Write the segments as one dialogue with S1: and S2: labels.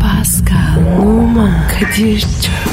S1: Pascal, Oman, Kadir çok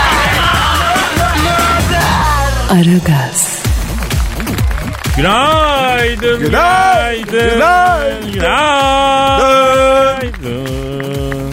S1: Aragaz,
S2: Günaydın,
S3: Günaydın. Günaydın.
S2: günaydın,
S3: Günaydın.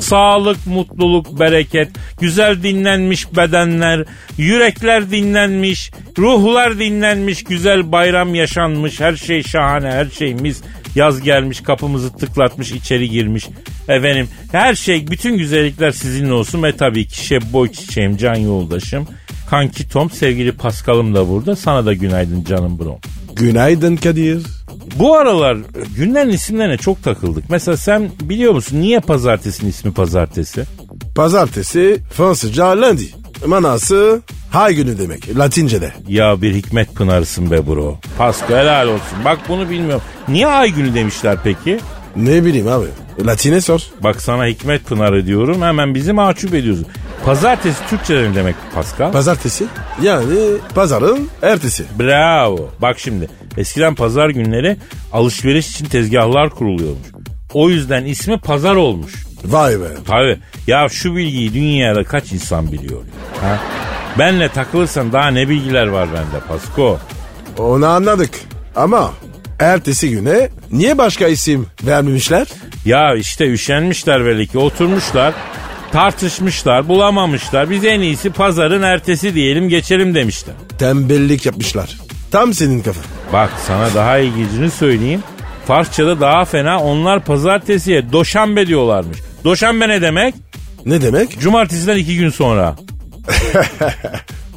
S3: Sağlık, mutluluk, bereket, güzel dinlenmiş bedenler, yürekler dinlenmiş, ruhlar dinlenmiş, güzel bayram yaşanmış, her şey şahane, her şey mis. Yaz gelmiş, kapımızı tıklatmış, içeri girmiş. Efendim, her şey, bütün güzellikler sizinle olsun ve tabii ki şebboy çiçeğim, can yoldaşım. Kanki Tom, sevgili Paskal'ım da burada. Sana da günaydın canım bro.
S2: Günaydın Kadir.
S3: Bu aralar günlerin isimlerine çok takıldık. Mesela sen biliyor musun niye pazartesinin ismi pazartesi?
S2: Pazartesi Fransızca lundi. Manası hay günü demek Latince'de.
S3: Ya bir hikmet pınarısın be bro. Pasko helal olsun. Bak bunu bilmiyorum. Niye ay günü demişler peki?
S2: Ne bileyim abi. Latine sor.
S3: Bak sana hikmet pınarı diyorum hemen bizi mahcup ediyorsun. Pazartesi Türkçe'de ne demek Pascal?
S2: Pazartesi yani pazarın ertesi.
S3: Bravo. Bak şimdi eskiden pazar günleri alışveriş için tezgahlar kuruluyormuş. O yüzden ismi pazar olmuş.
S2: Vay be.
S3: Tabii. Ya şu bilgiyi dünyada kaç insan biliyor? ya, Ha? Benle takılırsan daha ne bilgiler var bende Pasko?
S2: Onu anladık. Ama ertesi güne niye başka isim vermemişler?
S3: Ya işte üşenmişler belli ki oturmuşlar tartışmışlar bulamamışlar biz en iyisi pazarın ertesi diyelim geçelim demişler.
S2: Tembellik yapmışlar. Tam senin kafan.
S3: Bak sana daha ilgincini söyleyeyim. Farsçada daha fena onlar pazartesiye doşambe diyorlarmış. Doşambe ne demek?
S2: Ne demek?
S3: Cumartesiden iki gün sonra.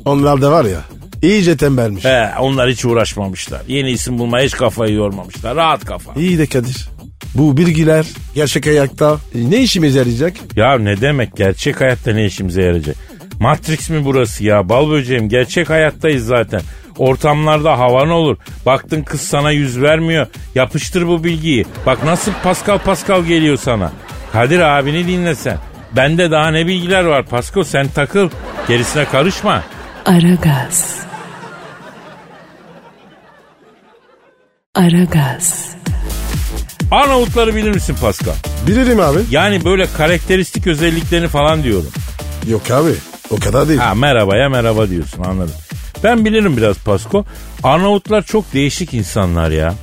S2: Onlar da var ya iyice tembelmiş.
S3: He, onlar hiç uğraşmamışlar. Yeni isim bulmaya hiç kafayı yormamışlar. Rahat kafa.
S2: İyi de Kadir. Bu bilgiler gerçek ayakta ne işimize yarayacak?
S3: Ya ne demek gerçek hayatta ne işimize yarayacak? Matrix mi burası ya? Bal böceğim gerçek hayattayız zaten. Ortamlarda havan olur. Baktın kız sana yüz vermiyor. Yapıştır bu bilgiyi. Bak nasıl Pascal Pascal geliyor sana. Kadir abini dinlesen. Bende daha ne bilgiler var Pasko sen takıl. Gerisine karışma.
S1: Aragaz. Aragaz,
S3: Arnavutları bilir misin Pascal?
S2: Bilirim abi.
S3: Yani böyle karakteristik özelliklerini falan diyorum.
S2: Yok abi o kadar değil.
S3: Ha merhabaya merhaba diyorsun anladım. Ben bilirim biraz Pasko. Arnavutlar çok değişik insanlar ya.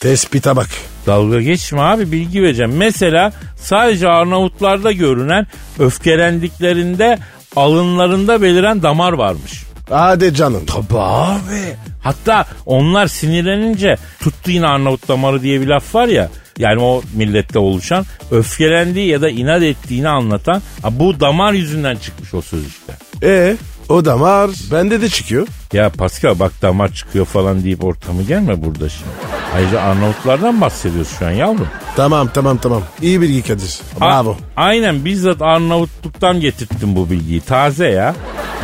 S2: Tespite bak.
S3: Dalga geçme abi bilgi vereceğim. Mesela sadece Arnavutlarda görünen öfkelendiklerinde alınlarında beliren damar varmış.
S2: Hadi canım.
S3: Tabi abi. Hatta onlar sinirlenince tuttu yine Arnavut damarı diye bir laf var ya. Yani o millette oluşan öfkelendiği ya da inat ettiğini anlatan ha, bu damar yüzünden çıkmış o söz işte.
S2: E o damar bende de çıkıyor.
S3: Ya Pascal bak damar çıkıyor falan deyip ortamı gelme burada şimdi. Ayrıca Arnavutlardan bahsediyoruz şu an yavrum.
S2: Tamam tamam tamam. İyi bilgi Kadir. Bravo.
S3: A- aynen bizzat Arnavutluk'tan getirttim bu bilgiyi. Taze ya.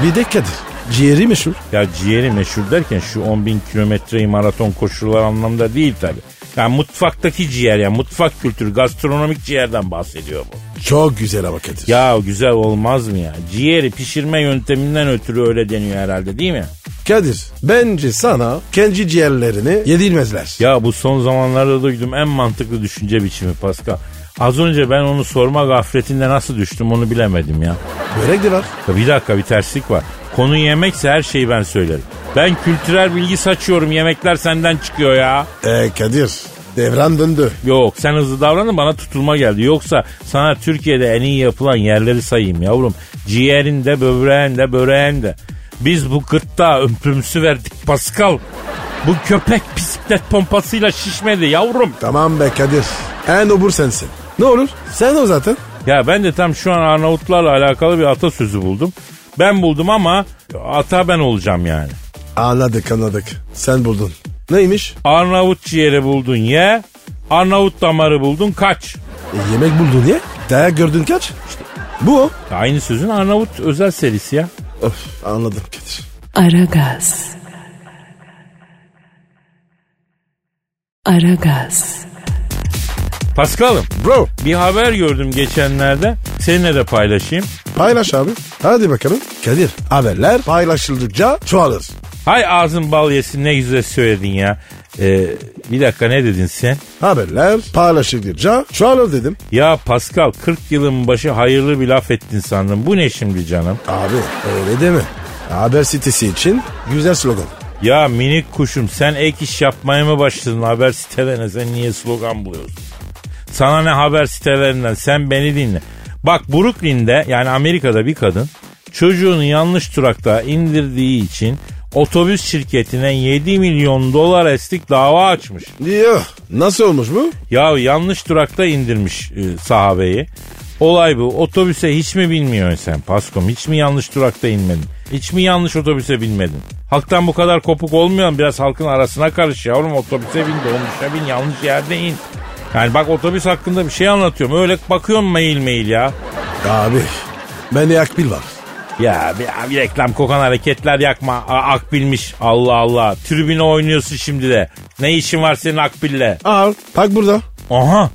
S2: Bir de Kadir. Ciğeri meşhur.
S3: Ya ciğeri meşhur derken şu 10 bin kilometreyi maraton koşular anlamda değil tabi. Yani mutfaktaki ciğer yani mutfak kültürü gastronomik ciğerden bahsediyor bu.
S2: Çok güzel ama Kadir.
S3: Ya güzel olmaz mı ya? Ciğeri pişirme yönteminden ötürü öyle deniyor herhalde değil mi?
S2: Kadir bence sana kendi ciğerlerini yedirmezler.
S3: Ya bu son zamanlarda duydum en mantıklı düşünce biçimi Pascal. Az önce ben onu sorma gafletinde nasıl düştüm onu bilemedim ya.
S2: Börek de var.
S3: Ya bir dakika bir terslik var. Konu yemekse her şeyi ben söylerim. Ben kültürel bilgi saçıyorum yemekler senden çıkıyor ya.
S2: E Kadir devran döndü.
S3: Yok sen hızlı davranın bana tutulma geldi. Yoksa sana Türkiye'de en iyi yapılan yerleri sayayım yavrum. Ciğerinde, böbreğinde, böreğinde. Biz bu gırtta ömrümüzü verdik Pascal. Bu köpek bisiklet pompasıyla şişmedi yavrum.
S2: Tamam be Kadir. En obur sensin. Ne olur? Sen o zaten.
S3: Ya ben de tam şu an Arnavutlarla alakalı bir atasözü buldum. Ben buldum ama ata ben olacağım yani.
S2: Anladık anladık. Sen buldun. Neymiş?
S3: Arnavut ciğeri buldun ye. Arnavut damarı buldun kaç.
S2: E, yemek buldun ya. Dayak gördün kaç? Bu o.
S3: Ya aynı sözün Arnavut özel serisi ya.
S2: Öf, anladım Kadir.
S1: Aragaz. Aragaz.
S3: Paskal'ım
S2: Bro
S3: bir haber gördüm geçenlerde. Seninle de paylaşayım.
S2: paylaş abi. Hadi bakalım. Kadir haberler paylaşıldıkça çoğalır.
S3: Hay ağzın bal yesin ne güzel söyledin ya. Ee, bir dakika ne dedin sen?
S2: Haberler paylaşıldıkça çoğalır dedim.
S3: Ya Pascal 40 yılın başı hayırlı bir laf ettin sandım. Bu ne şimdi canım?
S2: Abi öyle deme. Haber sitesi için güzel slogan.
S3: Ya minik kuşum sen ek iş yapmaya mı başladın haber sitelerine sen niye slogan buluyorsun? Sana ne haber sitelerinden sen beni dinle. Bak Brooklyn'de yani Amerika'da bir kadın çocuğunu yanlış durakta indirdiği için otobüs şirketine 7 milyon dolar eslik dava açmış.
S2: Diyor. Nasıl olmuş bu?
S3: Ya yanlış durakta indirmiş e, sahabeyi. Olay bu. Otobüse hiç mi bilmiyorsun sen Paskom? Hiç mi yanlış durakta inmedin? Hiç mi yanlış otobüse binmedin? Halktan bu kadar kopuk olmayalım. Biraz halkın arasına karış yavrum. Otobüse bin, dolmuşa bin, yanlış yerde in. Yani bak otobüs hakkında bir şey anlatıyorum. Öyle bakıyorum mail mail ya.
S2: Abi bende akbil var.
S3: Ya bir, bir reklam kokan hareketler yakma. A- Akbilmiş Allah Allah. Tribüne oynuyorsun şimdi de. Ne işin var senin Akbil'le?
S2: Al bak burada.
S3: Aha.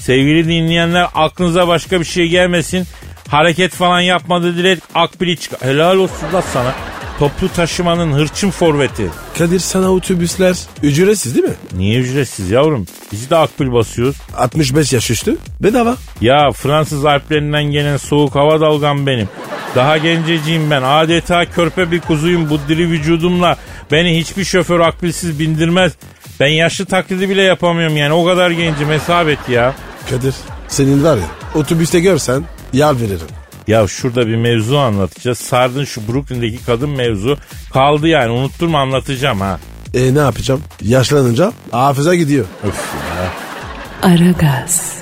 S3: Sevgili dinleyenler aklınıza başka bir şey gelmesin. Hareket falan yapmadı direkt akbili çık. Helal olsun da sana. Toplu taşımanın hırçın forveti.
S2: Kadir sana otobüsler ücretsiz değil mi?
S3: Niye ücretsiz yavrum? Biz de akbil basıyoruz.
S2: 65 yaş üstü bedava.
S3: Ya Fransız Alplerinden gelen soğuk hava dalgam benim. Daha genceciyim ben. Adeta körpe bir kuzuyum bu diri vücudumla. Beni hiçbir şoför akbilsiz bindirmez. Ben yaşlı taklidi bile yapamıyorum yani. O kadar gencim hesap et ya.
S2: Kadir senin var ya otobüste görsen yar veririm.
S3: Ya şurada bir mevzu anlatacağız. Sardın şu Brooklyn'deki kadın mevzu. Kaldı yani unutturma anlatacağım ha.
S2: E ne yapacağım? Yaşlanınca hafıza gidiyor.
S1: Aragaz.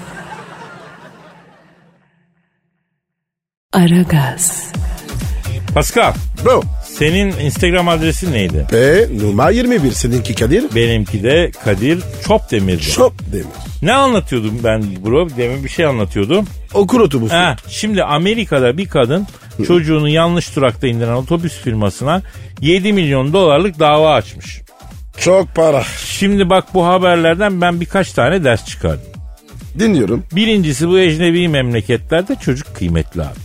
S1: Aragaz.
S3: Pascal
S2: Bro.
S3: senin Instagram adresin neydi?
S2: E numara 21 seninki Kadir.
S3: Benimki de Kadir Çopdemir'di.
S2: Şop demir.
S3: ne anlatıyordum ben bro? Demin bir şey anlatıyordum.
S2: Okul otobüsü.
S3: Ha, şimdi Amerika'da bir kadın çocuğunu yanlış durakta indiren otobüs firmasına 7 milyon dolarlık dava açmış.
S2: Çok para.
S3: Şimdi bak bu haberlerden ben birkaç tane ders çıkardım.
S2: Dinliyorum.
S3: Birincisi bu ecnebi memleketlerde çocuk kıymetli abi.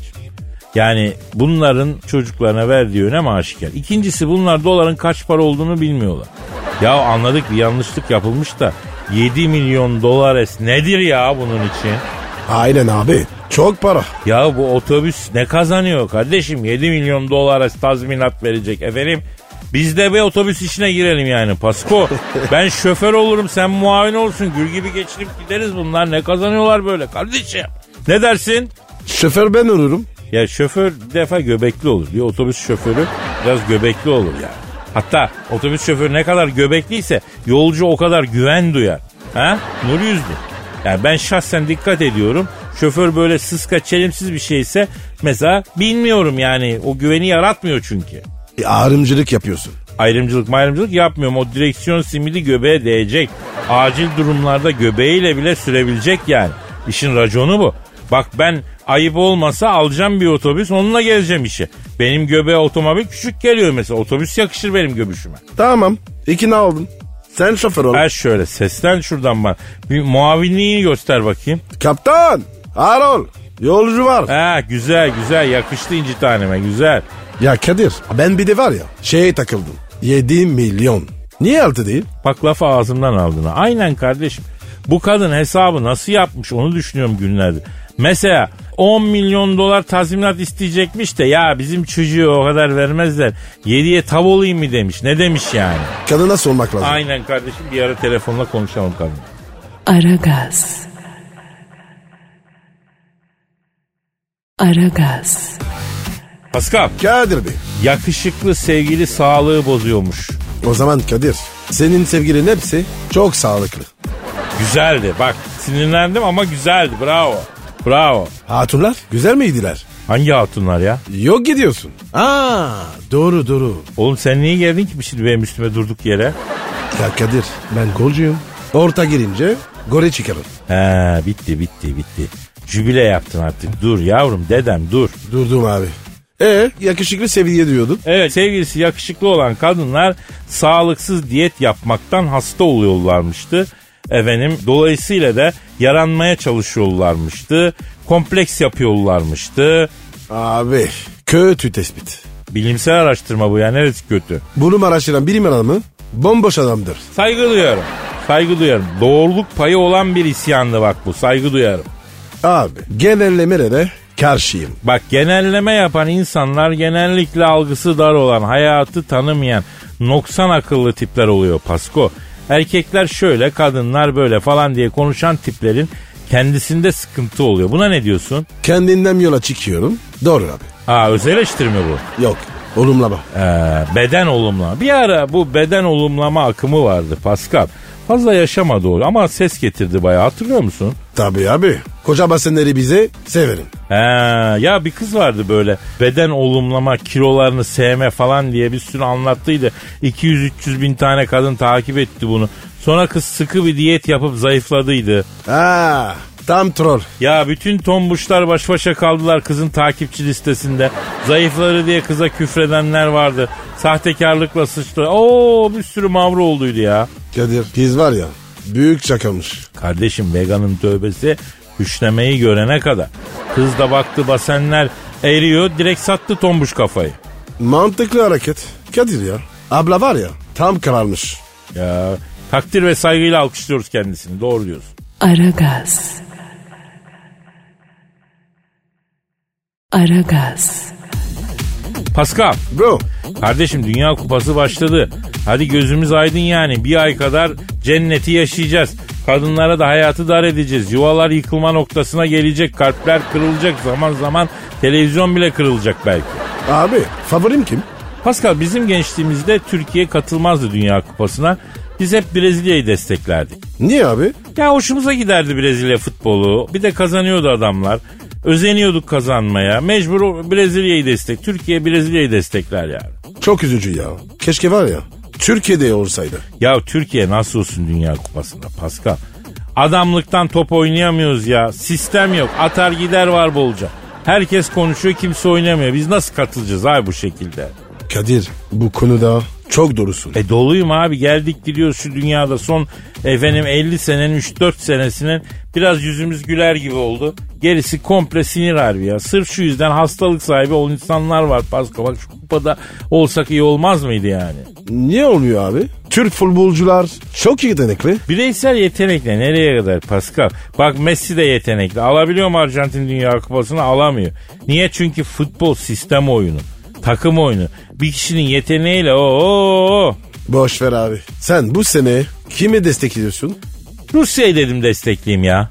S3: Yani bunların çocuklarına verdiği önem aşikar. İkincisi bunlar doların kaç para olduğunu bilmiyorlar. Ya anladık bir yanlışlık yapılmış da 7 milyon dolar es nedir ya bunun için?
S2: Aynen abi. Çok para.
S3: Ya bu otobüs ne kazanıyor kardeşim? 7 milyon dolar es tazminat verecek efendim. Biz de bir otobüs işine girelim yani Pasko. Ben şoför olurum sen muavin olsun. Gül gibi geçinip gideriz bunlar. Ne kazanıyorlar böyle kardeşim? Ne dersin?
S2: Şoför ben olurum.
S3: Ya şoför bir defa göbekli olur. Bir otobüs şoförü biraz göbekli olur yani. Hatta otobüs şoförü ne kadar göbekliyse yolcu o kadar güven duyar. Ha? Nur yüzlü. Yani ben şahsen dikkat ediyorum. Şoför böyle sıska çelimsiz bir şeyse mesela bilmiyorum yani o güveni yaratmıyor çünkü.
S2: E, ağrımcılık yapıyorsun.
S3: Ayrımcılık mayrımcılık yapmıyorum. O direksiyon simidi göbeğe değecek. Acil durumlarda göbeğiyle bile sürebilecek yani. İşin raconu bu. Bak ben ayıp olmasa alacağım bir otobüs onunla geleceğim işe. Benim göbeğe otomobil küçük geliyor mesela. Otobüs yakışır benim göbüşüme.
S2: Tamam. İkna oldum. Sen şoför ol.
S3: Her şöyle seslen şuradan bana. Bir muavinliğini göster bakayım.
S2: Kaptan. Ağır ol. Yolcu var.
S3: Ha güzel güzel yakıştı inci taneme güzel.
S2: Ya Kadir ben bir de var ya şeye takıldım. 7 milyon. Niye altı değil?
S3: Bak lafı ağzımdan aldın. ha. Aynen kardeşim. Bu kadın hesabı nasıl yapmış onu düşünüyorum günlerdir. Mesela 10 milyon dolar tazminat isteyecekmiş de ya bizim çocuğu o kadar vermezler. 7'ye tav olayım mı demiş. Ne demiş yani?
S2: Kadına sormak lazım.
S3: Aynen kardeşim bir ara telefonla konuşalım kadın.
S1: Aragaz. Aragaz.
S3: Pascal
S2: Kadir Bey.
S3: yakışıklı sevgili sağlığı bozuyormuş.
S2: O zaman Kadir senin sevgilin hepsi çok sağlıklı.
S3: Güzeldi bak sinirlendim ama güzeldi bravo. Bravo.
S2: Hatunlar güzel miydiler?
S3: Hangi hatunlar ya?
S2: Yok gidiyorsun. Aa doğru doğru.
S3: Oğlum sen niye geldin ki şimdi benim üstüme durduk yere?
S2: Ya Kadir ben golcuyum. Orta girince gole çıkarım.
S3: He bitti bitti bitti. Jübile yaptın artık. Dur yavrum dedem dur.
S2: Durdum abi. E yakışıklı seviye diyordun.
S3: Evet sevgilisi yakışıklı olan kadınlar sağlıksız diyet yapmaktan hasta oluyorlarmıştı. Efendim dolayısıyla da yaranmaya çalışıyorlarmıştı. Kompleks yapıyorlarmıştı.
S2: Abi kötü tespit.
S3: Bilimsel araştırma bu ya neresi kötü?
S2: Bunu araştıran bilim adamı bomboş adamdır.
S3: Saygı duyarım. Saygı duyarım. Doğruluk payı olan bir isyandı bak bu. Saygı duyarım.
S2: Abi genellemelere karşıyım.
S3: Bak genelleme yapan insanlar genellikle algısı dar olan, hayatı tanımayan, noksan akıllı tipler oluyor Pasko. Erkekler şöyle, kadınlar böyle falan diye konuşan tiplerin kendisinde sıkıntı oluyor. Buna ne diyorsun?
S2: Kendimden yola çıkıyorum. Doğru abi.
S3: Ha öz eleştiri mi bu?
S2: Yok olumlama.
S3: Ee, beden olumlama. Bir ara bu beden olumlama akımı vardı Pascal. Fazla yaşama doğru ama ses getirdi bayağı hatırlıyor musun?
S2: Tabii abi. Koca basenleri bize severim.
S3: He, ya bir kız vardı böyle beden olumlama, kilolarını sevme falan diye bir sürü anlattıydı. 200-300 bin tane kadın takip etti bunu. Sonra kız sıkı bir diyet yapıp zayıfladıydı.
S2: Aa, tam troll.
S3: Ya bütün tombuşlar baş başa kaldılar kızın takipçi listesinde. Zayıfları diye kıza küfredenler vardı. Sahtekarlıkla sıçtı. Oo bir sürü mavra olduydu ya.
S2: Kadir kız var ya büyük şakamış.
S3: Kardeşim veganın tövbesi hüşlemeyi görene kadar. Kız da baktı basenler eriyor direkt sattı tombuş kafayı.
S2: Mantıklı hareket. Kadir ya. Abla var ya tam kararmış.
S3: Ya takdir ve saygıyla alkışlıyoruz kendisini. Doğru diyorsun.
S1: Aragaz. Aragaz.
S3: Pascal
S2: Bro
S3: kardeşim Dünya Kupası başladı. Hadi gözümüz aydın yani. Bir ay kadar cenneti yaşayacağız. Kadınlara da hayatı dar edeceğiz. Yuvalar yıkılma noktasına gelecek. Kalpler kırılacak. Zaman zaman televizyon bile kırılacak belki.
S2: abi favorim kim?
S3: Pascal bizim gençliğimizde Türkiye katılmazdı Dünya Kupası'na. Biz hep Brezilya'yı desteklerdik.
S2: Niye abi?
S3: Ya hoşumuza giderdi Brezilya futbolu. Bir de kazanıyordu adamlar. Özeniyorduk kazanmaya. Mecbur o- Brezilya'yı destek. Türkiye Brezilya'yı destekler yani.
S2: Çok üzücü ya. Keşke var ya Türkiye'de olsaydı.
S3: Ya Türkiye nasıl olsun Dünya Kupası'nda Pascal? Adamlıktan top oynayamıyoruz ya. Sistem yok. Atar gider var bolca. Herkes konuşuyor kimse oynamıyor. Biz nasıl katılacağız abi bu şekilde?
S2: Kadir bu konuda çok doğrusun.
S3: E doluyum abi geldik gidiyoruz şu dünyada son efendim 50 senenin 3-4 senesinin biraz yüzümüz güler gibi oldu. Gerisi komple sinir harbi ya. Sırf şu yüzden hastalık sahibi olan insanlar var Pasko. Bak şu kupada olsak iyi olmaz mıydı yani?
S2: Niye olmuyor abi? Türk futbolcular çok yetenekli.
S3: Bireysel yetenekle nereye kadar Pascal? Bak Messi de yetenekli. Alabiliyor mu Arjantin Dünya Kupası'nı? Alamıyor. Niye? Çünkü futbol sistem oyunu. Takım oyunu. Bir kişinin yeteneğiyle o
S2: Boş ver abi. Sen bu sene kimi destekliyorsun?
S3: Rusya'yı dedim destekleyeyim ya.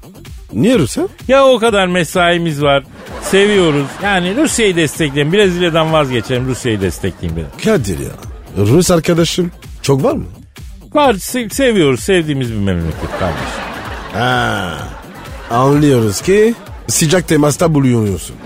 S2: Niye Rusya?
S3: Ya o kadar mesaimiz var. Seviyoruz. Yani Rusya'yı destekleyin. Brezilya'dan vazgeçelim. Rusya'yı destekleyin biraz.
S2: Kadir ya. Rus arkadaşım çok var mı?
S3: Var se- seviyoruz. Sevdiğimiz bir memleket kardeşim.
S2: Ha. Anlıyoruz ki sıcak temasta bulunuyorsun.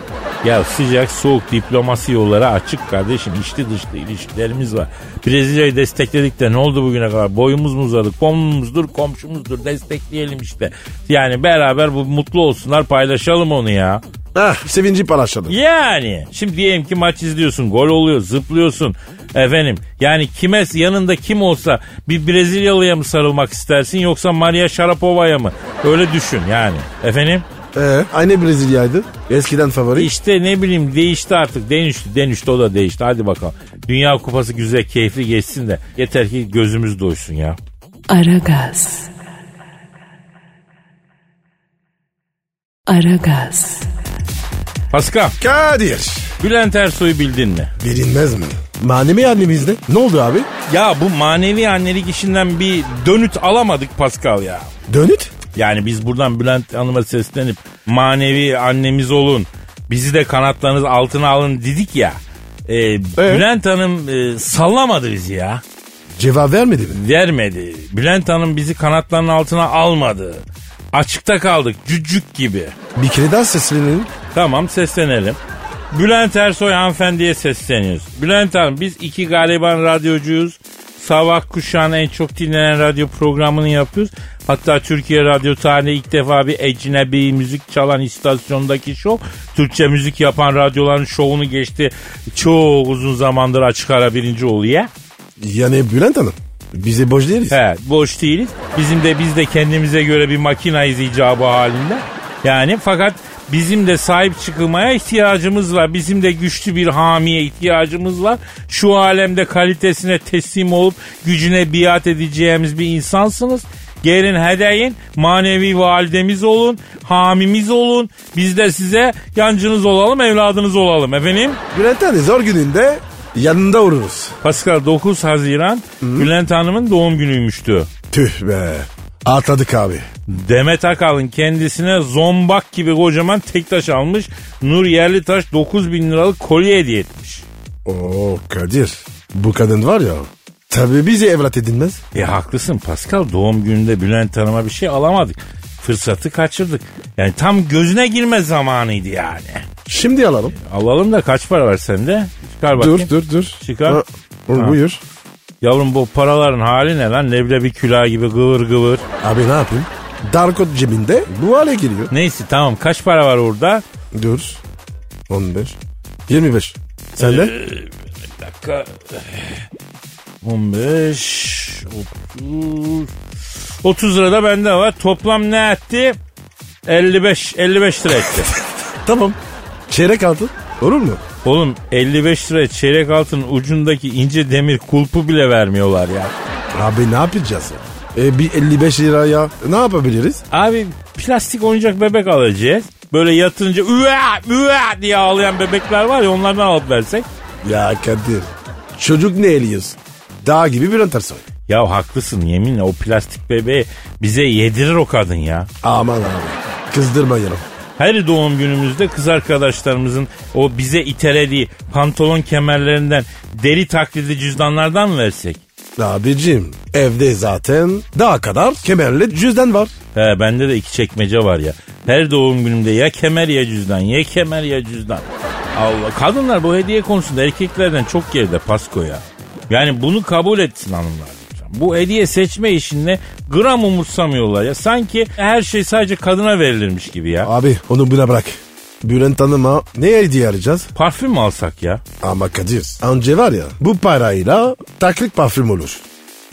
S3: Ya sıcak soğuk diplomasi yolları açık kardeşim. İçli dışlı ilişkilerimiz var. Brezilya'yı destekledik de ne oldu bugüne kadar? Boyumuz mu uzadı? Komumuzdur, komşumuzdur. Destekleyelim işte. Yani beraber bu mutlu olsunlar paylaşalım onu ya.
S2: Ah sevinci paylaşalım.
S3: Yani şimdi diyelim ki maç izliyorsun gol oluyor zıplıyorsun efendim yani kime yanında kim olsa bir Brezilyalıya mı sarılmak istersin yoksa Maria Sharapova'ya mı öyle düşün yani efendim
S2: Ee, aynı Brezilya'ydı. Eskiden favori.
S3: işte ne bileyim değişti artık denişti denişti o da değişti hadi bakalım Dünya Kupası güzel keyifli geçsin de yeter ki gözümüz doysun ya.
S1: Aragaz. Aragaz.
S3: Pascal
S2: Kadir.
S3: Bülent Ersoy'u bildin mi?
S2: Bilinmez mi? Manevi annemizde. Ne oldu abi?
S3: Ya bu manevi annelik işinden bir dönüt alamadık Pascal ya.
S2: Dönüt?
S3: Yani biz buradan Bülent Hanım'a seslenip manevi annemiz olun. Bizi de kanatlarınız altına alın dedik ya. Ee, Bülent Hanım e, sallamadı bizi ya.
S2: Cevap vermedi mi?
S3: Vermedi. Bülent Hanım bizi kanatlarının altına almadı. Açıkta kaldık cücük gibi.
S2: Bir kere daha seslenelim.
S3: Tamam seslenelim. Bülent Ersoy hanımefendiye sesleniyoruz. Bülent Hanım biz iki galiban radyocuyuz. Sabah kuşağın en çok dinlenen radyo programını yapıyoruz. Hatta Türkiye Radyo tarihinde ilk defa bir ecnebi müzik çalan istasyondaki şov Türkçe müzik yapan radyoların şovunu geçti. Çok uzun zamandır açık ara birinci oluyor.
S2: Yani Bülent Hanım bize boş değiliz.
S3: He, boş değiliz. Bizim de biz de kendimize göre bir makinayız icabı halinde. Yani fakat bizim de sahip çıkılmaya ihtiyacımız var. Bizim de güçlü bir hamiye ihtiyacımız var. Şu alemde kalitesine teslim olup gücüne biat edeceğimiz bir insansınız. Gelin hedeyin, manevi validemiz olun, hamimiz olun. Biz de size yancınız olalım, evladınız olalım efendim.
S2: Bülent Hanım zor gününde yanında oluruz.
S3: Pascal 9 Haziran Bülent Hanım'ın doğum günüymüştü.
S2: Tüh be. Atladık abi.
S3: Demet Akalın kendisine zombak gibi kocaman tek taş almış. Nur Yerlitaş 9 bin liralık kolye hediye etmiş.
S2: Oo Kadir. Bu kadın var ya. Tabii bizi evlat edinmez.
S3: E haklısın Pascal doğum gününde Bülent Hanım'a bir şey alamadık. Fırsatı kaçırdık. Yani tam gözüne girme zamanıydı yani.
S2: Şimdi alalım.
S3: Alalım da kaç para var sende? Çıkar bakayım.
S2: Dur dur dur.
S3: Çıkar.
S2: Ha, bu-
S3: Ha.
S2: Buyur.
S3: Yavrum bu paraların hali ne lan? Leblebi külah gibi gıvır gıvır.
S2: Abi ne yapayım? Darkot cebinde bu hale geliyor.
S3: Neyse tamam kaç para var orada?
S2: Dur. 15. 25. Sen de?
S3: Ee, dakika. 15 30 30 lira da bende var. Toplam ne etti? 55 55 lira etti.
S2: Tamam. Çeyrek altın. Olur mu?
S3: Oğlum 55 lira çeyrek altın ucundaki ince demir kulpu bile vermiyorlar ya.
S2: Abi ne yapacağız? ya? E, bir 55 liraya ne yapabiliriz?
S3: Abi plastik oyuncak bebek alacağız. Böyle yatınca üve üve diye ağlayan bebekler var ya onlardan alıp versek.
S2: Ya Kadir. Çocuk ne eliyorsun? Dağ gibi bir antarsoy.
S3: Ya haklısın yeminle o plastik bebeği bize yedirir o kadın ya.
S2: Aman abi. Kızdırma yanım.
S3: Her doğum günümüzde kız arkadaşlarımızın o bize itelediği pantolon kemerlerinden deri taklidi cüzdanlardan mı versek?
S2: Abicim evde zaten daha kadar kemerli cüzdan var.
S3: He bende de iki çekmece var ya. Her doğum günümde ya kemer ya cüzdan ya kemer ya cüzdan. Allah kadınlar bu hediye konusunda erkeklerden çok geride Pasko ya. Yani bunu kabul etsin hanımlar. lütfen. Bu hediye seçme işinde gram umursamıyorlar ya. Sanki her şey sadece kadına verilirmiş gibi ya.
S2: Abi onu buna bırak. Bülent Hanım'a ne hediye arayacağız?
S3: Parfüm mü alsak ya?
S2: Ama Kadir anca var ya bu parayla taklit parfüm olur.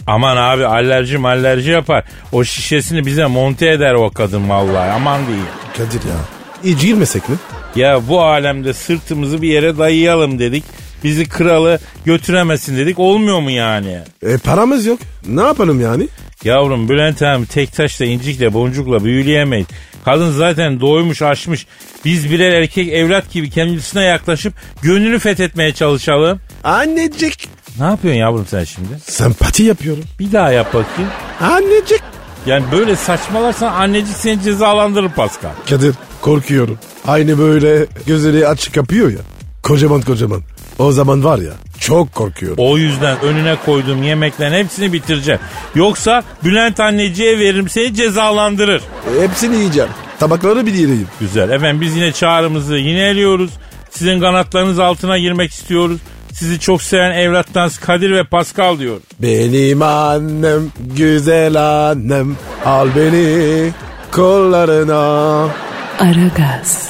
S3: Aman abi alerji mallerji yapar. O şişesini bize monte eder o kadın vallahi aman diyeyim.
S2: Kadir ya hiç girmesek mi?
S3: Ya bu alemde sırtımızı bir yere dayayalım dedik. Bizi kralı götüremesin dedik. Olmuyor mu yani?
S2: E paramız yok. Ne yapalım yani?
S3: Yavrum Bülent abi tek taşla incikle boncukla büyüleyemeyiz. Kadın zaten doymuş açmış. Biz birer erkek evlat gibi kendisine yaklaşıp gönlünü fethetmeye çalışalım.
S2: Annecik.
S3: Ne yapıyorsun yavrum sen şimdi?
S2: Sempati yapıyorum.
S3: Bir daha yap bakayım.
S2: Annecik.
S3: Yani böyle saçmalarsan annecik seni cezalandırır Pascal.
S2: Kadir korkuyorum. Aynı böyle gözleri açık kapıyor ya. Kocaman kocaman. O zaman var ya çok korkuyorum.
S3: O yüzden önüne koyduğum yemeklerin hepsini bitireceğim. Yoksa Bülent anneciye veririm seni cezalandırır.
S2: Hepsini yiyeceğim. Tabakları bir yiyeyim.
S3: Güzel. Efendim biz yine çağrımızı yineliyoruz. Sizin kanatlarınız altına girmek istiyoruz. Sizi çok seven evlatlarınız Kadir ve Pascal diyor.
S2: Benim annem güzel annem al beni kollarına.
S1: Aragaz.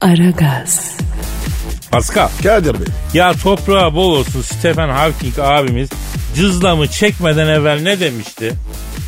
S1: Aragaz.
S3: Pascal.
S2: Kadir Bey.
S3: Ya toprağa bol olsun Stephen Hawking abimiz cızlamı çekmeden evvel ne demişti?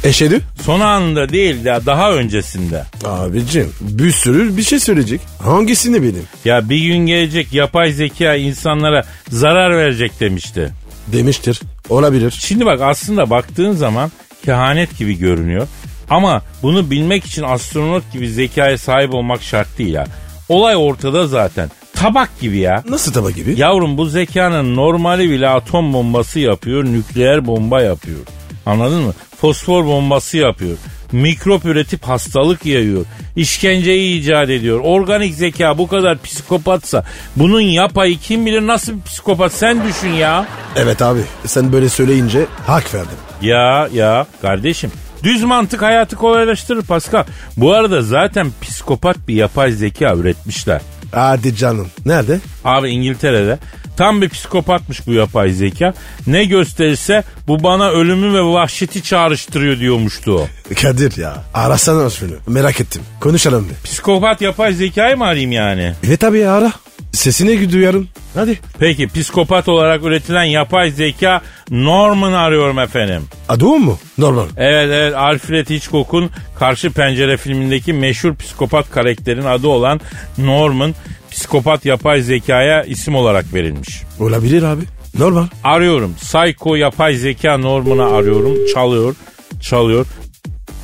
S2: Eşedü.
S3: Son anında değil ya daha öncesinde.
S2: Abicim bir sürü bir şey söyleyecek. Hangisini bileyim?
S3: Ya bir gün gelecek yapay zeka insanlara zarar verecek demişti.
S2: Demiştir. Olabilir.
S3: Şimdi bak aslında baktığın zaman kehanet gibi görünüyor. Ama bunu bilmek için astronot gibi zekaya sahip olmak şart değil ya. Olay ortada zaten. Tabak gibi ya.
S2: Nasıl tava gibi?
S3: Yavrum bu zekanın normali bile atom bombası yapıyor, nükleer bomba yapıyor. Anladın mı? Fosfor bombası yapıyor. Mikrop üretip hastalık yayıyor. İşkenceyi icat ediyor. Organik zeka bu kadar psikopatsa bunun yapayı kim bilir nasıl bir psikopat sen düşün ya.
S2: Evet abi sen böyle söyleyince hak verdim.
S3: Ya ya kardeşim. Düz mantık hayatı kolaylaştırır Pascal. Bu arada zaten psikopat bir yapay zeka üretmişler.
S2: Hadi canım. Nerede?
S3: Abi İngiltere'de Tam bir psikopatmış bu yapay zeka. Ne gösterirse bu bana ölümü ve vahşeti çağrıştırıyor diyormuştu o.
S2: Kadir ya arasana şunu merak ettim konuşalım bir.
S3: Psikopat yapay zekayı mı arayayım yani?
S2: Evet tabii ya ara sesini duyarım hadi.
S3: Peki psikopat olarak üretilen yapay zeka Norman'ı arıyorum efendim.
S2: Adı o mu? Normal.
S3: Evet evet Alfred Hitchcock'un Karşı Pencere filmindeki meşhur psikopat karakterin adı olan Norman psikopat yapay zekaya isim olarak verilmiş.
S2: Olabilir abi. Normal.
S3: Arıyorum. Psycho yapay zeka Norman'ı arıyorum. Çalıyor. Çalıyor.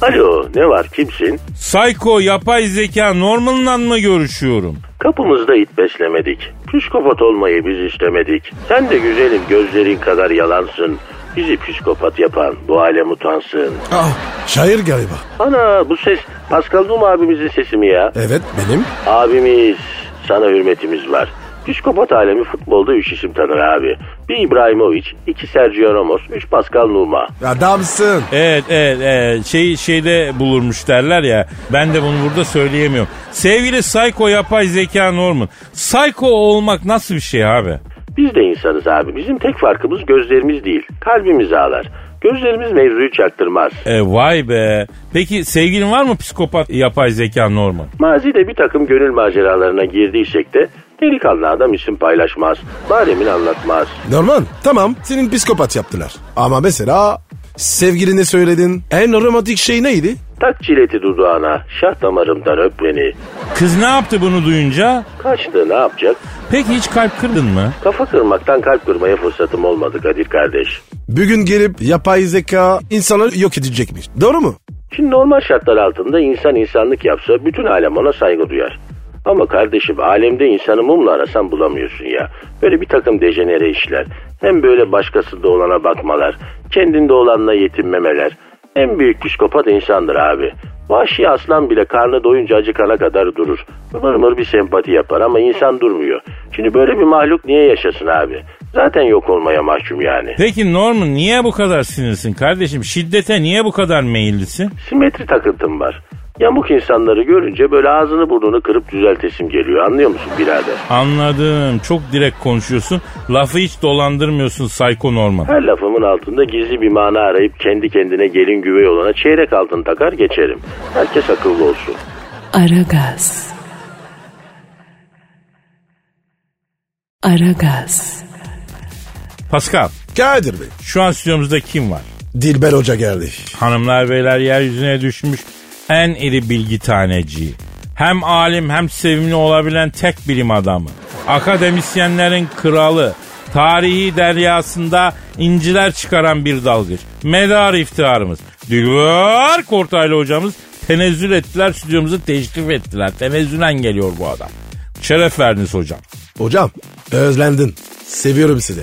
S4: Alo ne var kimsin?
S3: Psycho yapay zeka Norman'la mı görüşüyorum?
S4: Kapımızda it beslemedik. Psikopat olmayı biz istemedik. Sen de güzelim gözlerin kadar yalansın. Bizi psikopat yapan bu alem utansın.
S2: Ah şair galiba.
S4: Ana bu ses Pascal Numa abimizin sesi mi ya?
S2: Evet benim.
S4: Abimiz sana hürmetimiz var. Psikopat alemi futbolda üç isim tanır abi. Bir İbrahimovic, iki Sergio Ramos, üç Pascal Numa.
S2: Adamsın.
S3: Evet evet, evet. şey şeyde bulurmuş derler ya. Ben de bunu burada söyleyemiyorum. Sevgili Psycho yapay zeka Norman. Psycho olmak nasıl bir şey abi?
S4: Biz de insanız abi. Bizim tek farkımız gözlerimiz değil, kalbimiz ağlar. Gözlerimiz mevzuyu çaktırmaz.
S3: E, vay be. Peki sevgilin var mı psikopat yapay zeka Norman?
S4: Mazide bir takım gönül maceralarına girdiysek de delikanlı adam isim paylaşmaz. Bademin anlatmaz.
S2: Normal tamam senin psikopat yaptılar. Ama mesela sevgiline söyledin en romantik şey neydi?
S4: Tak çileti dudağına, şah damarımdan öp beni.
S3: Kız ne yaptı bunu duyunca?
S4: Kaçtı ne yapacak?
S3: Peki hiç kalp kırdın mı?
S4: Kafa kırmaktan kalp kırmaya fırsatım olmadı Kadir kardeş.
S2: Bugün gelip yapay zeka insanları yok edecekmiş. Doğru mu?
S4: Şimdi normal şartlar altında insan insanlık yapsa bütün alem ona saygı duyar. Ama kardeşim alemde insanı mumla arasan bulamıyorsun ya. Böyle bir takım dejenere işler. Hem böyle başkasında olana bakmalar, kendinde olanla yetinmemeler. En büyük psikopat insandır abi. Vahşi aslan bile karnı doyunca acıkana kadar durur. Mır mır bir sempati yapar ama insan durmuyor. Şimdi böyle bir mahluk niye yaşasın abi? Zaten yok olmaya mahkum yani.
S3: Peki Norman niye bu kadar sinirsin kardeşim? Şiddete niye bu kadar meyillisin?
S4: Simetri takıntım var. Yamuk insanları görünce böyle ağzını burnunu kırıp düzeltesim geliyor. Anlıyor musun birader?
S3: Anladım. Çok direkt konuşuyorsun. Lafı hiç dolandırmıyorsun Psycho Norman.
S4: Her lafımın altında gizli bir mana arayıp kendi kendine gelin güvey olana çeyrek altın takar geçerim. Herkes akıllı olsun.
S1: Aragaz. Aragaz.
S3: Pascal
S2: Kadir Bey.
S3: şu an stüdyomuzda kim var?
S2: Dilber Hoca geldi.
S3: Hanımlar beyler yeryüzüne düşmüş en iri bilgi taneci. Hem alim hem sevimli olabilen tek bilim adamı. Akademisyenlerin kralı. Tarihi deryasında inciler çıkaran bir dalgıç. Medar iftiharımız. Dilber Kortaylı hocamız tenezzül ettiler stüdyomuzu teşrif ettiler. Tenezzülen geliyor bu adam. Şeref verdiniz hocam.
S2: Hocam özlendin. Seviyorum sizi.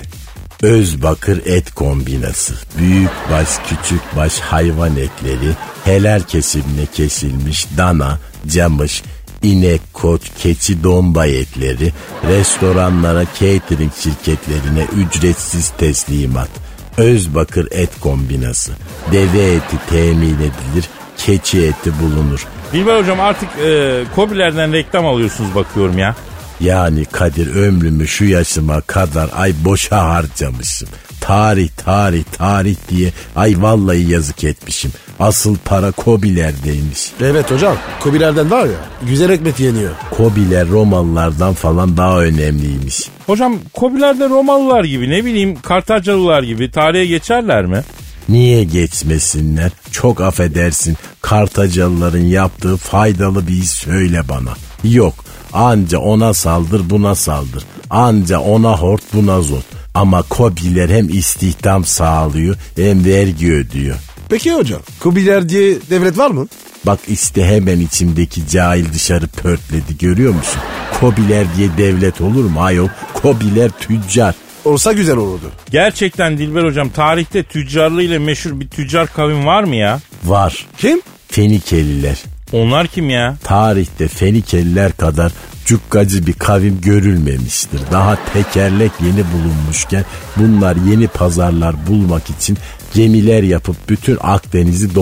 S5: Özbakır et kombinası. Büyük baş, küçük baş hayvan etleri, helal kesimine kesilmiş dana, camış, inek, koç, keçi, domba etleri, restoranlara, catering şirketlerine ücretsiz teslimat. Özbakır et kombinası. Deve eti temin edilir, keçi eti bulunur.
S3: Dilber hocam artık e, kobilerden reklam alıyorsunuz bakıyorum ya.
S5: Yani Kadir ömrümü şu yaşıma kadar ay boşa harcamışım. Tarih tarih tarih diye ay vallahi yazık etmişim. Asıl para Kobilerdeymiş.
S2: Evet hocam. Kobilerden var ya güzel ekmek yeniyor.
S5: Kobiler Romalılardan falan daha önemliymiş.
S3: Hocam Kobiler de Romalılar gibi ne bileyim Kartacalılar gibi tarihe geçerler mi?
S5: Niye geçmesinler? Çok affedersin. Kartacalıların yaptığı faydalı bir iş söyle bana. Yok. Anca ona saldır buna saldır. Anca ona hort buna zot. Ama Kobiler hem istihdam sağlıyor hem vergi ödüyor.
S2: Peki hocam. Kobiler diye devlet var mı?
S5: Bak işte hemen içimdeki cahil dışarı pörtledi görüyor musun? Kobiler diye devlet olur mu ayol? Kobiler tüccar.
S2: Olsa güzel olurdu.
S3: Gerçekten Dilber hocam tarihte tüccarlığıyla meşhur bir tüccar kavim var mı ya?
S5: Var.
S2: Kim?
S5: Fenikeliler.
S3: Onlar kim ya?
S5: Tarihte Fenikeliler kadar cukkacı bir kavim görülmemiştir. Daha tekerlek yeni bulunmuşken bunlar yeni pazarlar bulmak için gemiler yapıp bütün Akdeniz'i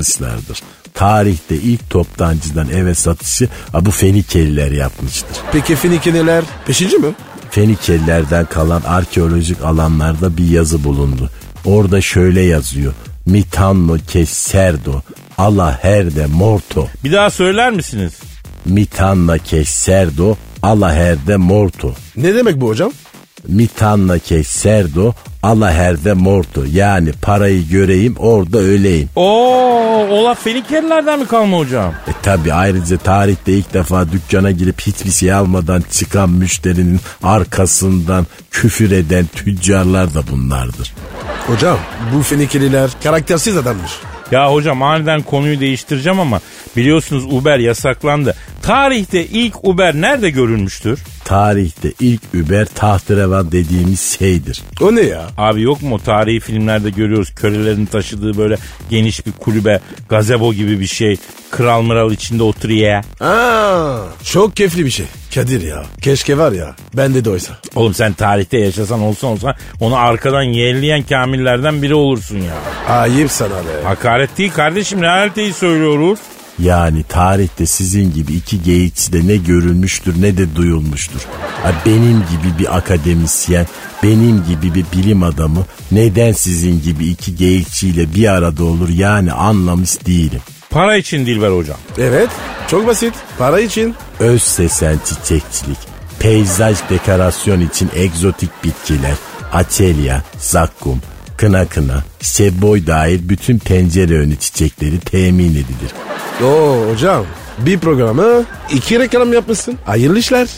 S5: dolaşmışlardır. Tarihte ilk toptancıdan eve satışı ha, bu Fenikeliler yapmıştır.
S2: Peki Fenikeliler peşinci mi?
S5: Fenikelilerden kalan arkeolojik alanlarda bir yazı bulundu. Orada şöyle yazıyor. Mitanno kesserdo alla herde morto.
S3: Bir daha söyler misiniz?
S5: Mitanna kesserdo alla herde morto.
S2: Ne demek bu hocam?
S5: Mitanna kesserdo alla herde morto. Yani parayı göreyim orada öleyim.
S3: Oo, Olaf Fenikelilerden mi kalma hocam?
S5: E tabi ayrıca tarihte ilk defa dükkana girip hiçbir şey almadan çıkan müşterinin arkasından küfür eden tüccarlar da bunlardır.
S2: Hocam bu Fenikeliler karaktersiz adammış.
S3: Ya hocam aniden konuyu değiştireceğim ama biliyorsunuz Uber yasaklandı. Tarihte ilk Uber nerede görülmüştür?
S5: Tarihte ilk Uber tahterevan dediğimiz şeydir.
S2: O ne ya?
S3: Abi yok mu o tarihi filmlerde görüyoruz kölelerin taşıdığı böyle geniş bir kulübe gazebo gibi bir şey. Kral mıral içinde oturuyor.
S2: Aa, çok keyifli bir şey. Kadir ya. Keşke var ya. Bende de oysa.
S3: Oğlum sen tarihte yaşasan olsan olsan onu arkadan yeğleyen kamillerden biri olursun ya.
S2: Ayıp sana be.
S3: Hakaret değil kardeşim realiteyi söylüyoruz.
S5: Yani tarihte sizin gibi iki geyikçi de ne görülmüştür ne de duyulmuştur. Ha, Benim gibi bir akademisyen, benim gibi bir bilim adamı neden sizin gibi iki geyikçiyle bir arada olur yani anlamış değilim.
S3: Para için Dilber hocam.
S2: Evet. Çok basit. Para için.
S5: Öz sesen çiçekçilik, peyzaj dekorasyon için egzotik bitkiler, açelya, zakkum, kına kına, seboy dahil bütün pencere önü çiçekleri temin edilir.
S2: Oo hocam. Bir programı iki reklam yapmışsın. Hayırlı işler.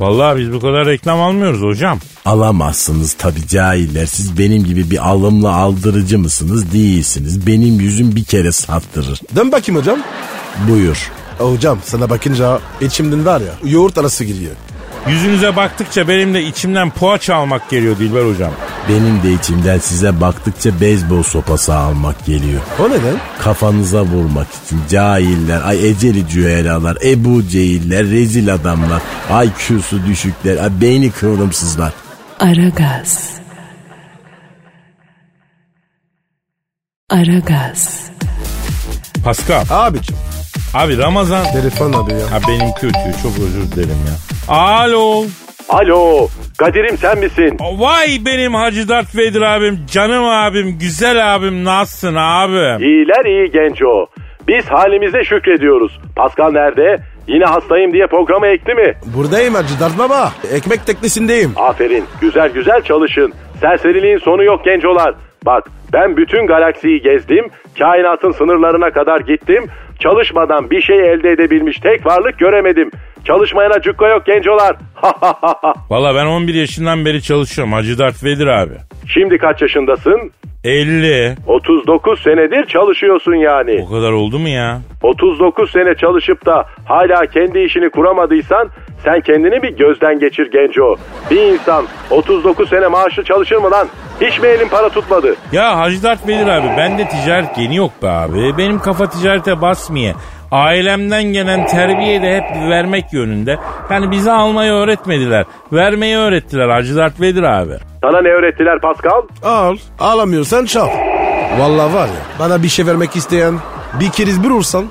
S3: Vallahi biz bu kadar reklam almıyoruz hocam.
S5: Alamazsınız tabi cahiller. Siz benim gibi bir alımlı aldırıcı mısınız? Değilsiniz. Benim yüzüm bir kere sattırır.
S2: Dön bakayım hocam. E,
S5: Buyur.
S2: Hocam sana bakınca içimden var ya yoğurt arası giriyor.
S3: Yüzünüze baktıkça benim de içimden poğaça almak geliyor Dilber hocam.
S5: Benim de içimden size baktıkça beyzbol sopası almak geliyor.
S2: O neden?
S5: Kafanıza vurmak için cahiller, ay eceli cühelalar, ebu cehiller, rezil adamlar, IQ'su düşükler, ay beyni kıvrımsızlar.
S1: Aragaz. Aragaz.
S3: Pascal.
S2: Abicim.
S3: Abi Ramazan.
S2: Telefon abi ya.
S3: Ha benim kötü çok özür dilerim ya. Alo.
S4: Alo Kadir'im sen misin?
S3: Vay benim Hacı Dert Vedir abim, canım abim, güzel abim nasılsın abim?
S4: İyiler iyi genç o. Biz halimize şükrediyoruz. Pascal nerede? Yine hastayım diye programa ekti mi?
S2: Buradayım Hacı Dert Baba. Ekmek teknesindeyim.
S4: Aferin. Güzel güzel çalışın. Serseriliğin sonu yok gencolar. Bak ben bütün galaksiyi gezdim. Kainatın sınırlarına kadar gittim. Çalışmadan bir şey elde edebilmiş tek varlık göremedim. Çalışmayana cukka yok gencolar.
S3: Valla ben 11 yaşından beri çalışıyorum Hacı Dert Vedir abi.
S4: Şimdi kaç yaşındasın?
S3: 50.
S4: 39 senedir çalışıyorsun yani.
S3: O kadar oldu mu ya?
S4: 39 sene çalışıp da hala kendi işini kuramadıysan sen kendini bir gözden geçir genco. Bir insan 39 sene maaşlı çalışır mı lan? Hiç mi elin para tutmadı?
S3: Ya Hacı Dert Vedir abi bende ticaret geni yok be abi. Benim kafa ticarete basmıyor. Ailemden gelen terbiye de hep vermek yönünde. Yani bize almayı öğretmediler. Vermeyi öğrettiler Hacı Dert Vedir abi.
S4: Sana ne öğrettiler Pascal?
S2: Al. Alamıyorsan çal. Vallahi var ya bana bir şey vermek isteyen bir keriz bir vursan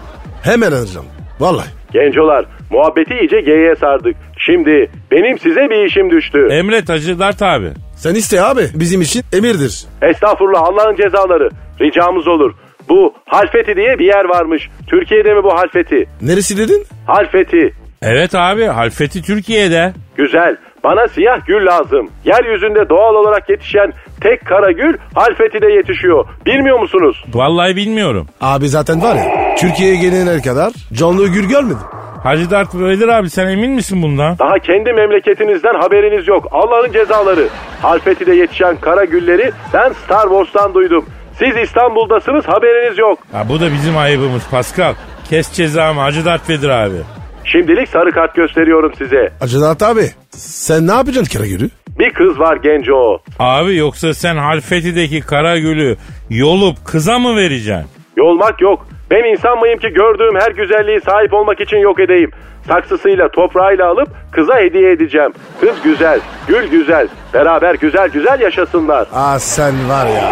S2: hemen alacağım. Vallahi.
S4: Gencolar muhabbeti iyice G'ye sardık. Şimdi benim size bir işim düştü.
S3: Emret Hacı Dert abi.
S2: Sen iste abi. Bizim için emirdir.
S4: Estağfurullah Allah'ın cezaları. Ricamız olur. Bu Halfeti diye bir yer varmış. Türkiye'de mi bu Halfeti?
S2: Neresi dedin?
S4: Halfeti.
S3: Evet abi Halfeti Türkiye'de.
S4: Güzel. Bana siyah gül lazım. Yeryüzünde doğal olarak yetişen tek kara gül Halfeti'de yetişiyor. Bilmiyor musunuz?
S3: Vallahi bilmiyorum.
S2: Abi zaten var ya Türkiye'ye gelene kadar canlı gül görmedim.
S3: Hacı Dert Vedir abi sen emin misin bundan?
S4: Daha kendi memleketinizden haberiniz yok. Allah'ın cezaları. Halfeti'de yetişen kara gülleri ben Star Wars'tan duydum. Siz İstanbul'dasınız haberiniz yok.
S3: Ha, bu da bizim ayıbımız Pascal. Kes cezamı Hacı Dert Vedir abi.
S4: Şimdilik sarı kart gösteriyorum size.
S2: Hacı Dert abi sen ne yapacaksın Karagül'ü?
S4: Bir kız var genco.
S3: Abi yoksa sen Halfeti'deki Karagül'ü yolup kıza mı vereceksin?
S4: Yolmak yok. Ben insan mıyım ki gördüğüm her güzelliği sahip olmak için yok edeyim. Saksısıyla toprağıyla alıp kıza hediye edeceğim. Kız güzel, gül güzel. Beraber güzel güzel yaşasınlar.
S2: Aa sen var ya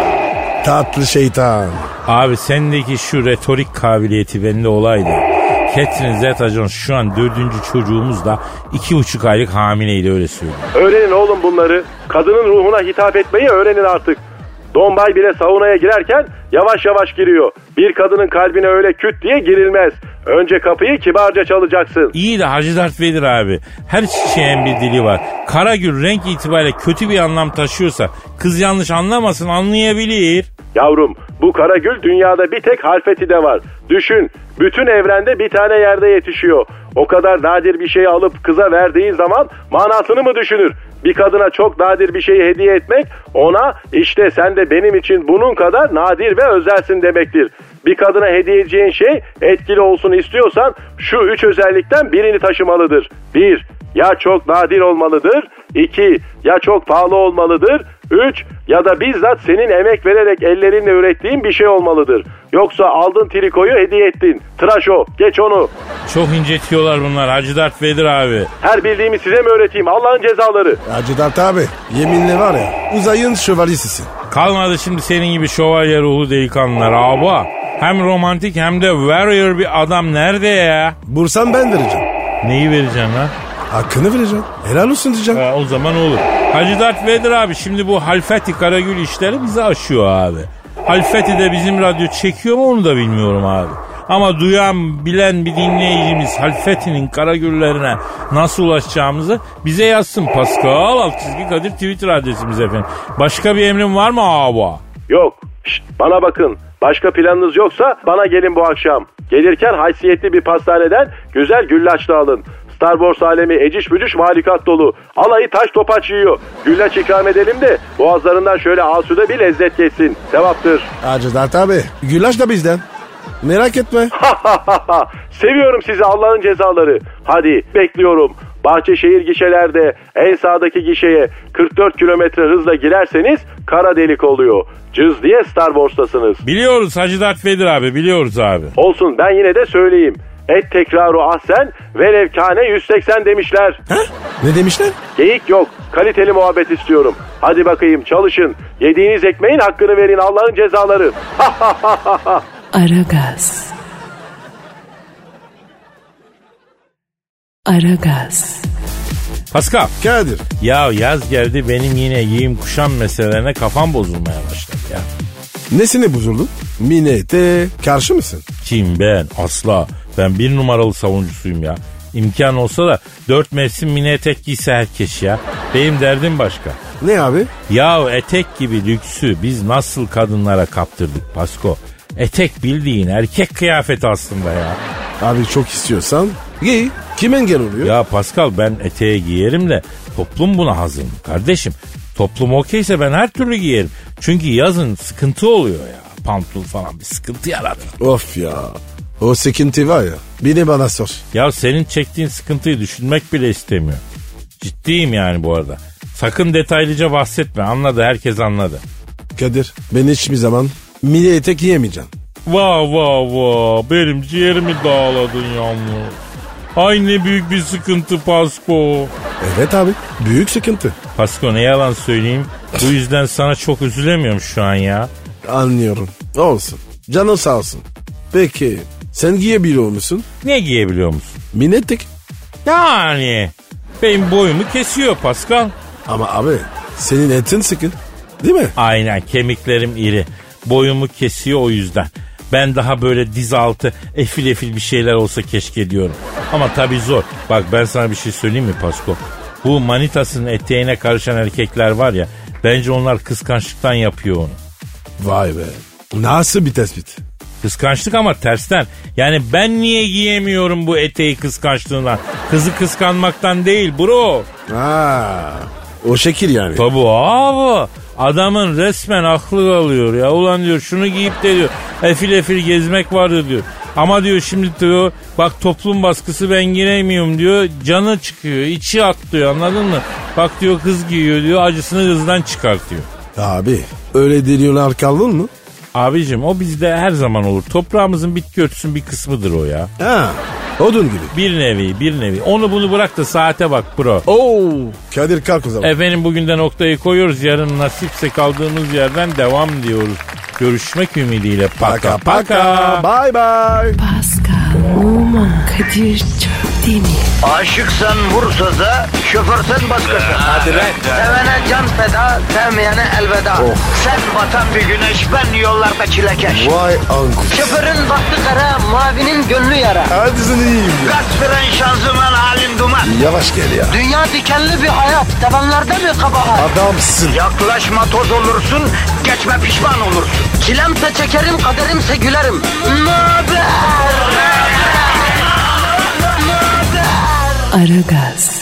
S2: tatlı şeytan.
S3: Abi sendeki şu retorik kabiliyeti bende olaydı. Catherine Zeta-Jones şu an dördüncü çocuğumuz da iki buçuk aylık hamileydi öyle söylüyor.
S4: Öğrenin oğlum bunları. Kadının ruhuna hitap etmeyi öğrenin artık. Dombay bile saunaya girerken yavaş yavaş giriyor. Bir kadının kalbine öyle küt diye girilmez. Önce kapıyı kibarca çalacaksın.
S3: İyi de Hacı Dert Vedir abi. Her çiçeğin bir dili var. Karagül renk itibariyle kötü bir anlam taşıyorsa kız yanlış anlamasın anlayabilir.
S4: Yavrum bu karagül dünyada bir tek harfeti de var. Düşün bütün evrende bir tane yerde yetişiyor. O kadar nadir bir şeyi alıp kıza verdiği zaman manasını mı düşünür? Bir kadına çok nadir bir şeyi hediye etmek ona işte sen de benim için bunun kadar nadir ve özelsin demektir. Bir kadına hediye edeceğin şey etkili olsun istiyorsan şu üç özellikten birini taşımalıdır. 1. Ya çok nadir olmalıdır. 2. Ya çok pahalı olmalıdır. 3. Ya da bizzat senin emek vererek ellerinle ürettiğin bir şey olmalıdır. Yoksa aldın trikoyu hediye ettin. Tıraş o. Geç onu.
S3: Çok incetiyorlar bunlar Hacı Dert Vedir abi.
S4: Her bildiğimi size mi öğreteyim? Allah'ın cezaları.
S2: Hacı Dert abi yeminle var ya uzayın şövalyesisin.
S3: Kalmadı şimdi senin gibi şövalye ruhlu delikanlılar abi. Hem romantik hem de warrior bir adam nerede ya?
S2: Bursam ben vereceğim.
S3: Neyi vereceksin lan?
S2: Hakkını vereceğim. Helal olsun diyeceğim.
S3: Ha, o zaman olur. Hacı Dert Vedir abi şimdi bu Halfeti Karagül işleri bizi aşıyor abi. Halfeti de bizim radyo çekiyor mu onu da bilmiyorum abi. Ama duyan bilen bir dinleyicimiz Halfeti'nin Karagüllerine nasıl ulaşacağımızı bize yazsın. Pascal alt çizgi Kadir Twitter adresimiz efendim. Başka bir emrin var mı abi?
S4: Yok. Şşt, bana bakın. Başka planınız yoksa bana gelin bu akşam. Gelirken haysiyetli bir pastaneden güzel güllaç da alın. Star Wars alemi eciş bücüş mahlukat dolu. Alayı taş topaç yiyor. Güllaç ikram edelim de boğazlarından şöyle asude bir lezzet geçsin. Sevaptır.
S2: Hacı Dert abi güllaç da bizden. Merak etme.
S4: Seviyorum sizi Allah'ın cezaları. Hadi bekliyorum. Bahçeşehir gişelerde en sağdaki gişeye 44 kilometre hızla girerseniz kara delik oluyor. Cız diye Star Wars'tasınız.
S3: Biliyoruz Hacı Dert Vedir abi biliyoruz abi.
S4: Olsun ben yine de söyleyeyim. Et tekraru ahsen velev kane 180 demişler.
S2: Ne demişler?
S4: Geyik yok. Kaliteli muhabbet istiyorum. Hadi bakayım çalışın. Yediğiniz ekmeğin hakkını verin Allah'ın cezaları.
S1: Aragaz. Aragaz.
S3: Pascal
S2: Kadir.
S3: ya yaz geldi benim yine giyim kuşam meselelerine kafam bozulmaya başladı ya.
S2: Nesini bozuldun? Minete karşı mısın?
S3: Kim ben asla. Ben bir numaralı savuncusuyum ya. İmkan olsa da dört mevsim mini etek giyse herkes ya. Benim derdim başka.
S2: Ne abi?
S3: Yahu etek gibi lüksü biz nasıl kadınlara kaptırdık Pasko. Etek bildiğin erkek kıyafeti aslında ya.
S2: Abi çok istiyorsan giy. Kim engel oluyor?
S3: Ya Pascal ben eteğe giyerim de toplum buna hazır mı kardeşim? Toplum okeyse ben her türlü giyerim. Çünkü yazın sıkıntı oluyor ya. Pantol falan bir sıkıntı yaratır.
S2: Of ya. O sıkıntı var ya. Beni bana sor.
S3: Ya senin çektiğin sıkıntıyı düşünmek bile istemiyor. Ciddiyim yani bu arada. Sakın detaylıca bahsetme anladı herkes anladı.
S2: Kadir ben hiçbir zaman mini etek yiyemeyeceğim.
S3: Va va va benim ciğerimi dağladın yalnız. Ay ne büyük bir sıkıntı Pasko.
S2: Evet abi. Büyük sıkıntı.
S3: Pasko ne yalan söyleyeyim. Bu yüzden sana çok üzülemiyorum şu an ya.
S2: Anlıyorum. Olsun. Canın sağ olsun. Peki sen giyebiliyor musun?
S3: Ne giyebiliyor musun?
S2: Mini etek.
S3: Yani benim boyumu kesiyor Pascal.
S2: Ama abi senin etin sıkın. Değil mi?
S3: Aynen kemiklerim iri. Boyumu kesiyor o yüzden. Ben daha böyle diz altı efil efil bir şeyler olsa keşke diyorum. Ama tabii zor. Bak ben sana bir şey söyleyeyim mi Pasko? Bu manitasının eteğine karışan erkekler var ya. Bence onlar kıskançlıktan yapıyor onu.
S2: Vay be. Nasıl bir tespit?
S3: Kıskançlık ama tersten. Yani ben niye giyemiyorum bu eteği kıskançlığından? Kızı kıskanmaktan değil bro.
S2: Aa, o şekil yani.
S3: Tabu abi. Adamın resmen aklı alıyor ya. Ulan diyor şunu giyip de diyor efil efil gezmek vardı diyor. Ama diyor şimdi diyor bak toplum baskısı ben giremiyorum diyor. Canı çıkıyor içi atlıyor anladın mı? Bak diyor kız giyiyor diyor acısını kızdan çıkartıyor.
S2: Abi öyle deniyorlar kaldın mı?
S3: Abicim o bizde her zaman olur. Toprağımızın bitki örtüsünün bir kısmıdır o ya.
S2: Ha, odun gibi.
S3: Bir nevi bir nevi. Onu bunu bırak da saate bak bro.
S2: Oo, Kadir
S3: E,
S2: kalk o zaman.
S3: Efendim bugün de noktayı koyuyoruz. Yarın nasipse kaldığımız yerden devam diyoruz. Görüşmek ümidiyle. Paka
S2: Paka.
S3: paka.
S2: Bye bye.
S1: Pascal, Oman, Kadir çok değil mi?
S6: Aşıksan vursa da şoförsen başkasın. Hadi
S3: be.
S6: Sevene can feda, sevmeyene elveda. Sen batan bir güneş, ben yollarda çilekeş.
S2: Vay anku.
S6: Şoförün baktı kara, mavinin gönlü yara.
S2: Hadi sen iyiyim ya.
S6: Kasperen şanzıman halin duman.
S2: Yavaş gel ya.
S6: Dünya dikenli bir hayat, sevenlerde mi kabahar?
S2: Adamsın.
S6: Yaklaşma toz olursun, geçme pişman olursun. Çilemse çekerim, kaderimse gülerim. Möber!
S1: Aragaz.